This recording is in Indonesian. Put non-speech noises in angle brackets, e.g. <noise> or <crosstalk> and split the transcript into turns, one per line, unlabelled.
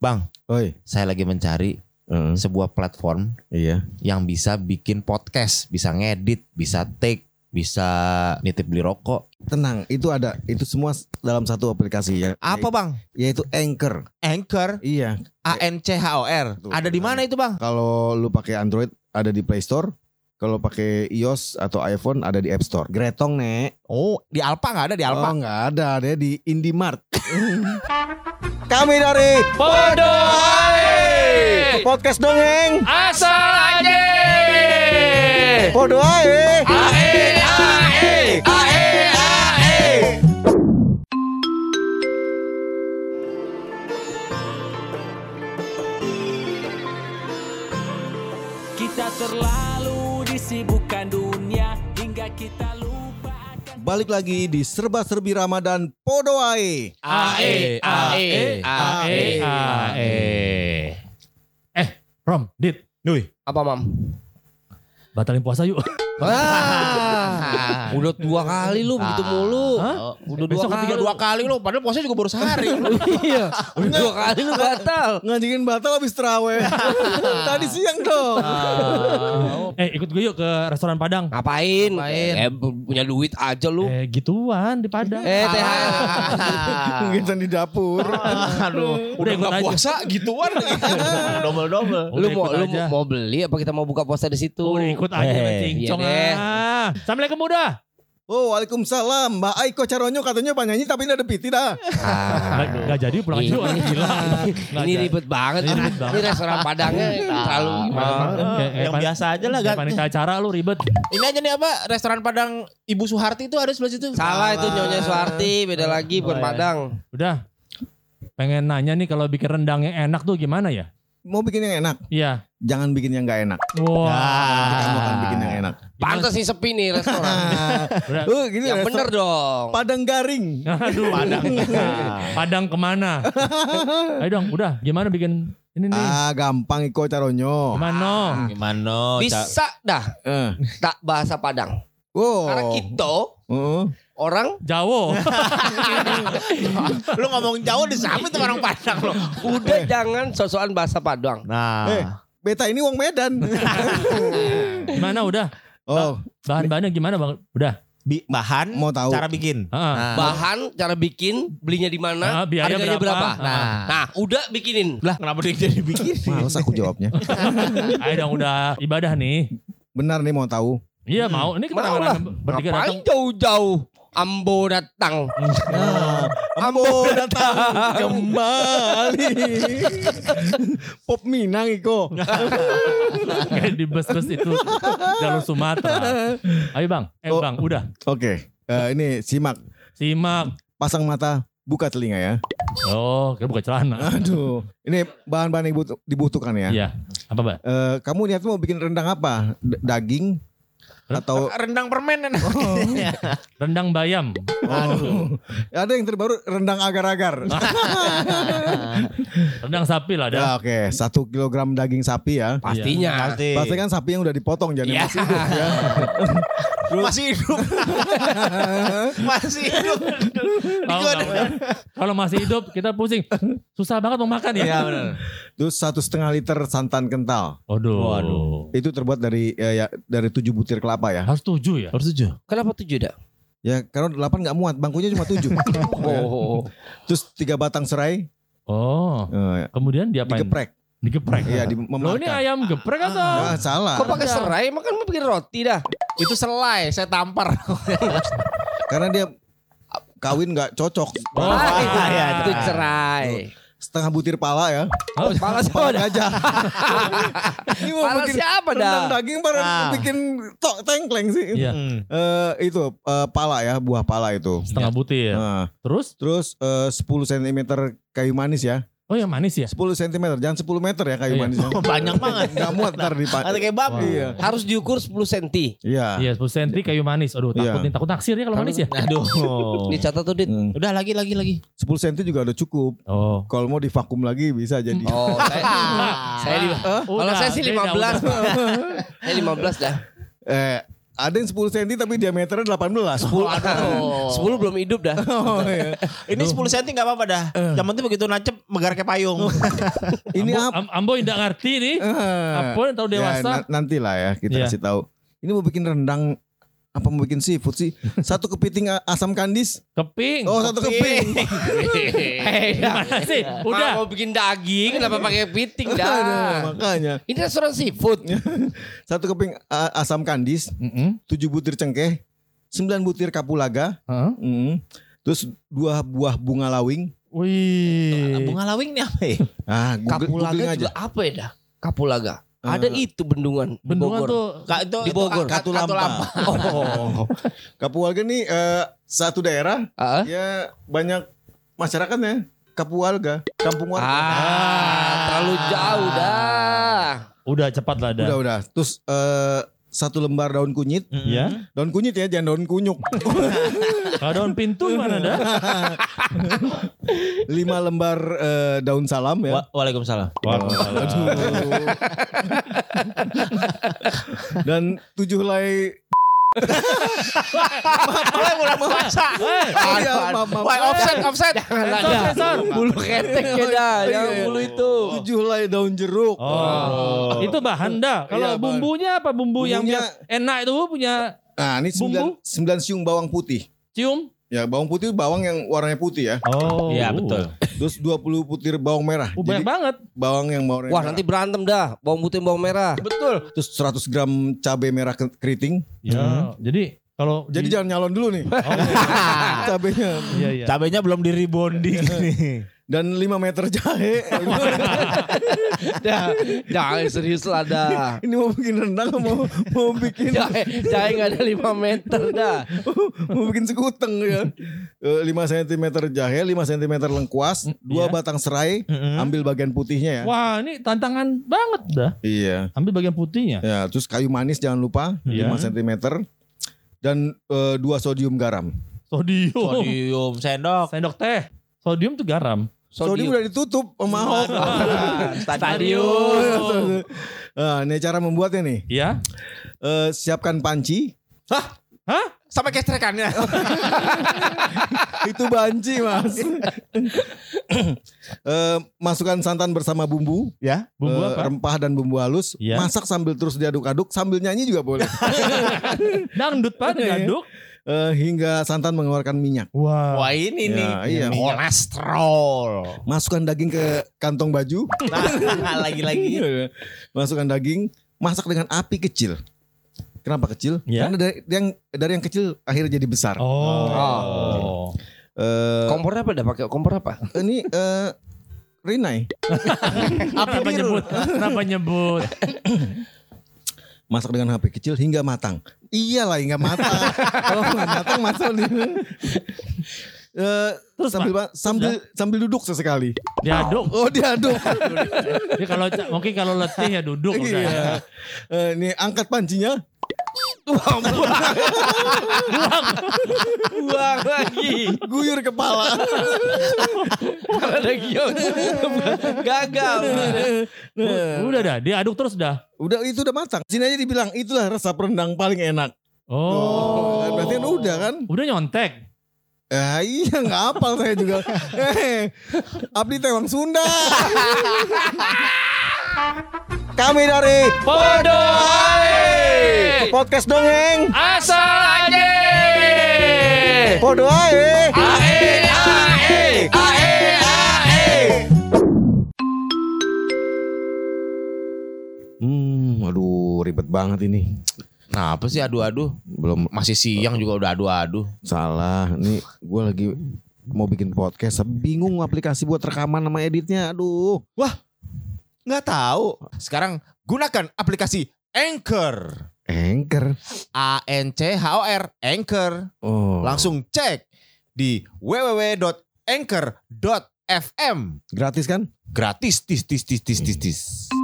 Bang,
Oi.
saya lagi mencari
Heeh,
sebuah platform
iya.
yang bisa bikin podcast, bisa ngedit, bisa take, bisa nitip beli rokok.
Tenang, itu ada itu semua s- dalam satu aplikasi ya.
Apa bang?
Yaitu Anchor.
Anchor,
Iya.
A N C H O R.
Tuh,
Ada di mana itu bang?
Kalau lu pakai Android ada di Play Store. Kalau pakai iOS atau iPhone ada di App Store. Gretong nek.
Oh, di Alpa nggak ada di Alpa.
Oh nggak ada, ada di
<laughs>
Indimart. Kami dari
Podo
podcast dongeng.
Asal aja
Podo ae.
Ae ae ae ae Kita terlalu disibukkan dunia hingga kita lupa
Balik lagi di serba serbi Ramadan Podo ae.
Ae
E,
ae ae
E,
ae
Eh, Rom, Dit,
Nui. Apa mam?
batalin puasa yuk.
<laughs> Ah, udah dua kali lu begitu mulu. Oh,
Hah?
Udah dua
Besok
kali.
ketiga
dua kali lu. Padahal puasanya juga baru <laughs> sehari.
iya, udah dua kali lu batal.
Ngajakin batal habis teraweh. Tadi siang dong.
<laughs> eh, ikut gue yuk ke restoran Padang.
Ngapain?
Ah. Ngapain?
Eh, bu- punya duit aja lu.
Eh, gituan di Padang.
Eh, teh.
Ah. <laughs>
Mungkin di dapur.
Aduh,
Ah, Udah
udah
ikut
nggak
aja.
puasa gituan.
<laughs>
Double double.
Lu mau
ikut
lu
aja.
mau beli apa kita mau buka puasa di situ?
Udah ikut aja
Eh,
lah,
iya
cincong
deh.
ah. Assalamualaikum muda.
Oh, waalaikumsalam. Mbak Aiko Caronyo katanya penyanyi tapi ini ada piti dah.
Nggak nggak jadi pulang aja. yuk,
Ini-
Iya. <laughs> Gila. Nggak
Ah, Ini
jadi.
ribet banget.
Ini ribet banget.
Ini restoran Padangnya terlalu gimana.
Ah,
Eh,
yang biasa aja lah gak panitia acara lu ribet
Ini aja nih apa? Restoran Padang Ibu Suharti itu ada sebelah situ.
Salah itu Nyonya Suharti, beda lagi bukan
Oh, iya.
Padang.
udah pengen nanya nih kalau bikin rendang yang enak tuh gimana ya
Mau bikin yang enak,
iya
jangan bikin yang nggak enak.
wah
Kamu akan bikin yang enak.
Pantas nih sepi nih restoran.
Udah.
Uh, gini
Yang
restoran
bener dong.
Padang garing.
Aduh. Padang. Padang <laughs> kemana? Ayo dong, udah. Gimana bikin ini nih?
Ah, gampang Iko Caronyo.
Gimana?
Ah.
Gimana? Ca-
<laughs> Bisa dah
Eh.
tak bahasa Padang.
Wow.
Karena kita
Heeh.
orang
Jawa.
lu ngomong jauh disambit sama orang Padang lo.
udah jangan sosokan bahasa Padang.
Nah,
Eh, beta ini wong Medan.
Eh.
Gimana udah?
oh,
Bahan-bahannya gimana Bang? Udah.
bi- bahan
mau tahu.
cara bikin.
Heeh.
Nah.
Ah. Bahan, cara bikin, belinya di mana,
Ah, biaya
harganya
berapa.
berapa.
Nah.
Nah, udah bikinin. Nah,
Lah, kenapa dia jadi bikin?
Males aku jawabnya.
Ayo dong udah ibadah nih.
Benar nih mau tahu.
Iya mau. Ini kita
Mau lah.
orang bertiga
Ngapain
datang.
jauh-jauh? Ambo datang.
Ambo datang kembali. <laughs> Pop Minang Iko.
Kayak di bus-bus itu jalur Sumatera. Ayo Bang. Eh
Oh.
Bang, udah.
Oke, eh, ini simak
Simak.
pasang mata, buka telinga ya.
Oh, kita buka celana.
Aduh, ini bahan-bahan yang dibutuh- dibutuhkan ya.
Iya. Apa, Bang?
Eh, kamu niat mau bikin rendang apa? D- daging
<laughs> Nah,
atau Oh, iya.
Rendang permen enak.
Rendang bayam.
ada yang terbaru rendang agar-agar.
Rendang sapi lah ada.
Ya, Oke, satu kilogram daging sapi ya.
Pastinya.
Pasti.
Pasti kan sapi yang udah dipotong jadi
Iya.
masih hidup ya.
Masih
<laughs>
hidup. Masih hidup.
Tahu nggak, udah? Kalau masih hidup kita pusing. Susah banget mau makan
Iya.
ya.
benar.
Terus satu setengah liter santan kental.
Waduh.
Itu terbuat dari eh, ya, dari tujuh butir kelapa ya.
Harus tujuh ya?
Harus setuju.
<laughs> Kenapa tujuh dah?
Ya karena delapan nggak muat, bangkunya cuma tujuh. Ya.
Oh,
Terus tiga batang serai
Oh.
eh,
Kemudian diapain?
digeprek.
Digeprek.
Iya, di
Lo ini
memarkan.
ayam geprek
Ah,
atau?
salah.
kok
Iya.
pakai serai? Emang kan mau bikin roti dah.
Itu selai, saya tampar.
Karena dia kawin nggak cocok.
Oh,
Ah,
iya,
itu cerai.
Setengah butir pala
iya.
ya.
Oh,
Pala siapa
Pala
dah?
gajah. Ini
Oh,
mau
Pala
bikin
siapa dah?
rendang daging baru
Ah.
bikin tok tengkleng sih.
Iya.
Hmm.
Eh, itu eh, pala ya, buah pala itu.
Setengah butir.
Nah,
Terus?
terus eh, 10 cm kayu manis ya.
Oh yang manis ya?
10 cm, jangan 10 meter ya kayu
Iya.
manisnya.
Banyak banget.
Gak muat ntar di
Ada kayak bab.
Wah.
Iya.
Oh. Harus diukur 10 cm.
Iya.
Iya 10 senti kayu manis. Aduh takut
Iya.
nih. Takut naksir ya kalau manis ya?
Aduh.
Dicatat tuh, Dit.
Hmm.
Oh. Udah lagi lagi lagi.
10 cm juga udah cukup.
Oh.
Kalau mau divakum lagi bisa jadi.
Oh, saya, saya di-
Ah. Udah,
kalau saya sih <laughs>
beda,
15.
udah.
Saya 15 dah.
Eh, Ada yang 10 cm tapi diameternya 18.
10
<laughs> Sepuluh belum hidup
<laughs>
dah. Eh.
Oh, iya.
Ini 10 cm gak apa-apa dah. Yang penting begitu nancep megar
<laughs>
kayak <laughs> payung.
Ini apa? Eh.
Am Ambo tidak ngerti nih. Apa yang tahu
Ya,
dewasa?
na- nanti lah ya kita
Iya.
kasih tahu. Ini mau bikin rendang apa mau bikin seafood
<laughs>
sih? Satu kepiting a- asam kandis.
Keping.
Oh, satu keping.
<laughs> Eh, dah.
Gimana sih?
Mama
Udah.
mau bikin daging, kenapa pakai piting
<laughs> Aduh,
<laughs> dah?
makanya.
Ini restoran seafood.
Satu keping a- asam kandis,
Mm-mm.
tujuh butir cengkeh, sembilan butir kapulaga,
Heeh.
mm, terus dua buah bunga lawing.
Wih.
Bunga lawing nih apa ya?
Ah, Google, googling
Kapulaga
aja.
juga apa ya dah? Kapulaga.
Ah.
Ada itu bendungan. di
Bendungan
Bogor.
tuh
Ka- itu,
Di Bogor.
Itu, Katulampa.
Katulampa.
Oh. Kapulaga nih eh, satu daerah
Ah.
ya banyak masyarakatnya. Kapulaga, kampung warga.
Ah, terlalu jauh dah.
udah cepat lah
Udah
dah.
udah. Terus eh, satu lembar daun kunyit.
Ya.
Daun kunyit ya, jangan daun kunyuk.
Kalau daun pintu gimana dah?
Lima lembar eh, daun salam ya.
Wa- Waalaikumsalam.
Dan tujuh helai
Mulai mulai puasa.
Iya, maaf, maaf.
Wah, offset, offset.
Janganlah
Sensor,
dah.
sensor.
Bulu ketek ya dah, yang bulu itu.
tujuh helai daun jeruk.
Oh, itu bahan dah. Kalau
Iya, bahan.
bumbunya apa? Bumbu yang
Bumbunya-
biar enak itu punya
Nah, ini sembilan, sembilan siung bawang putih.
cium.
Ya, bawang putih itu bawang yang warnanya putih ya.
Oh,
Iya, betul.
Terus 20 butir bawang merah.
Oh, banyak
Jadi
banget.
bawang yang warnanya
Wah
merah.
nanti berantem dah, bawang putih bawang merah. Betul.
terus 100 gram cabai merah ke- keriting.
Ya, jadi kalau
Jadi jangan nyalon dulu nih
Hmm. <laughs>
<laughs>
Oh,
cabenya.
iya, iya.
Cabenya belum di <laughs> rebonding nih.
Dan 5 meter
<laughs>
jahe.
Dah, jangan serius lah dah.
ini mau bikin rendang mau mau bikin
Jahe, jahe nggak ada 5 meter dah.
mau bikin sekuteng ya. 5 cm jahe, 5 cm lengkuas, dua
iya.
batang serai, ambil bagian putihnya ya.
Wah, ini tantangan banget dah.
Iya.
Ambil bagian putihnya.
Ya, terus kayu manis jangan lupa
Iya.
5 cm dan eh, dua sodium garam.
Sodium.
Sodium Oh, sendok.
Sendok teh. Sodium tuh garam.
Sodium, udah ditutup sama
Iya.
Ahok.
Ah, Stadion.
Nah, ini cara membuatnya nih.
Ya.
Eh, siapkan panci.
Sampai ya? kestrekannya.
Itu banci, Mas.
<laughs>
Eh, masukkan santan bersama bumbu,
Ya.
Bumbu
eh,
apa?
rempah dan bumbu halus.
Iya.
Masak sambil terus diaduk-aduk, sambil nyanyi juga boleh.
Dangdut pak,
Iya, iya.
diaduk.
Eh, hingga santan mengeluarkan minyak.
Wah.
<laughs> Wah ini
Ya,
nih.
iya.
Kolesterol.
Masukkan daging ke kantong baju. Iya.
Nah,
<laughs>
lagi-lagi.
Masukkan daging, masak dengan api kecil. Kenapa kecil?
Iya.
Karena dari, dari yang dari yang kecil akhirnya jadi besar.
Oh.
Oh.
Eh,
Kompor apa dah pakai kompor apa?
ini eh, Rinai
Kenapa nyebut? Kenapa nyebut?
masak dengan HP kecil hingga matang. Iyalah hingga
<laughs>
matang. Kalau nggak matang masuk nih. Eh,
Terus,
sambil ba- sambil sambil duduk sesekali.
Diaduk.
Oh diaduk.
Jadi kalau mungkin kalau letih ya duduk <laughs> udah. ya.
Iya. Eh, ini angkat pancinya.
Buang lagi.
Guyur kepala. <laughs>
Kalau ada Gion. <laughs> Gagal.
Udah dah, diaduk terus dah.
udah itu udah matang. Sini aja dibilang itulah resep rendang paling enak.
Oh.
Berarti kan udah kan?
Udah nyontek.
Eh, iya nggak hafal saya juga. Eh, Abdi Tewang Sunda. Kami dari
Podoai
podcast dongeng.
Asal aja
Podo ae.
Ae ae ae ae
Hmm, aduh ribet banget ini.
Nah apa sih adu-adu?
Belum
Masih siang juga udah adu-adu.
salah. Nih gue lagi mau bikin podcast bingung aplikasi buat rekaman sama editnya. Aduh.
Nggak tahu. Sekarang gunakan aplikasi Anchor.
Anchor.
A N C H O R Anchor.
Oh.
Langsung cek di www.anchor.fm.
gratis kan?
Gratis tis tis tis tis tis tis.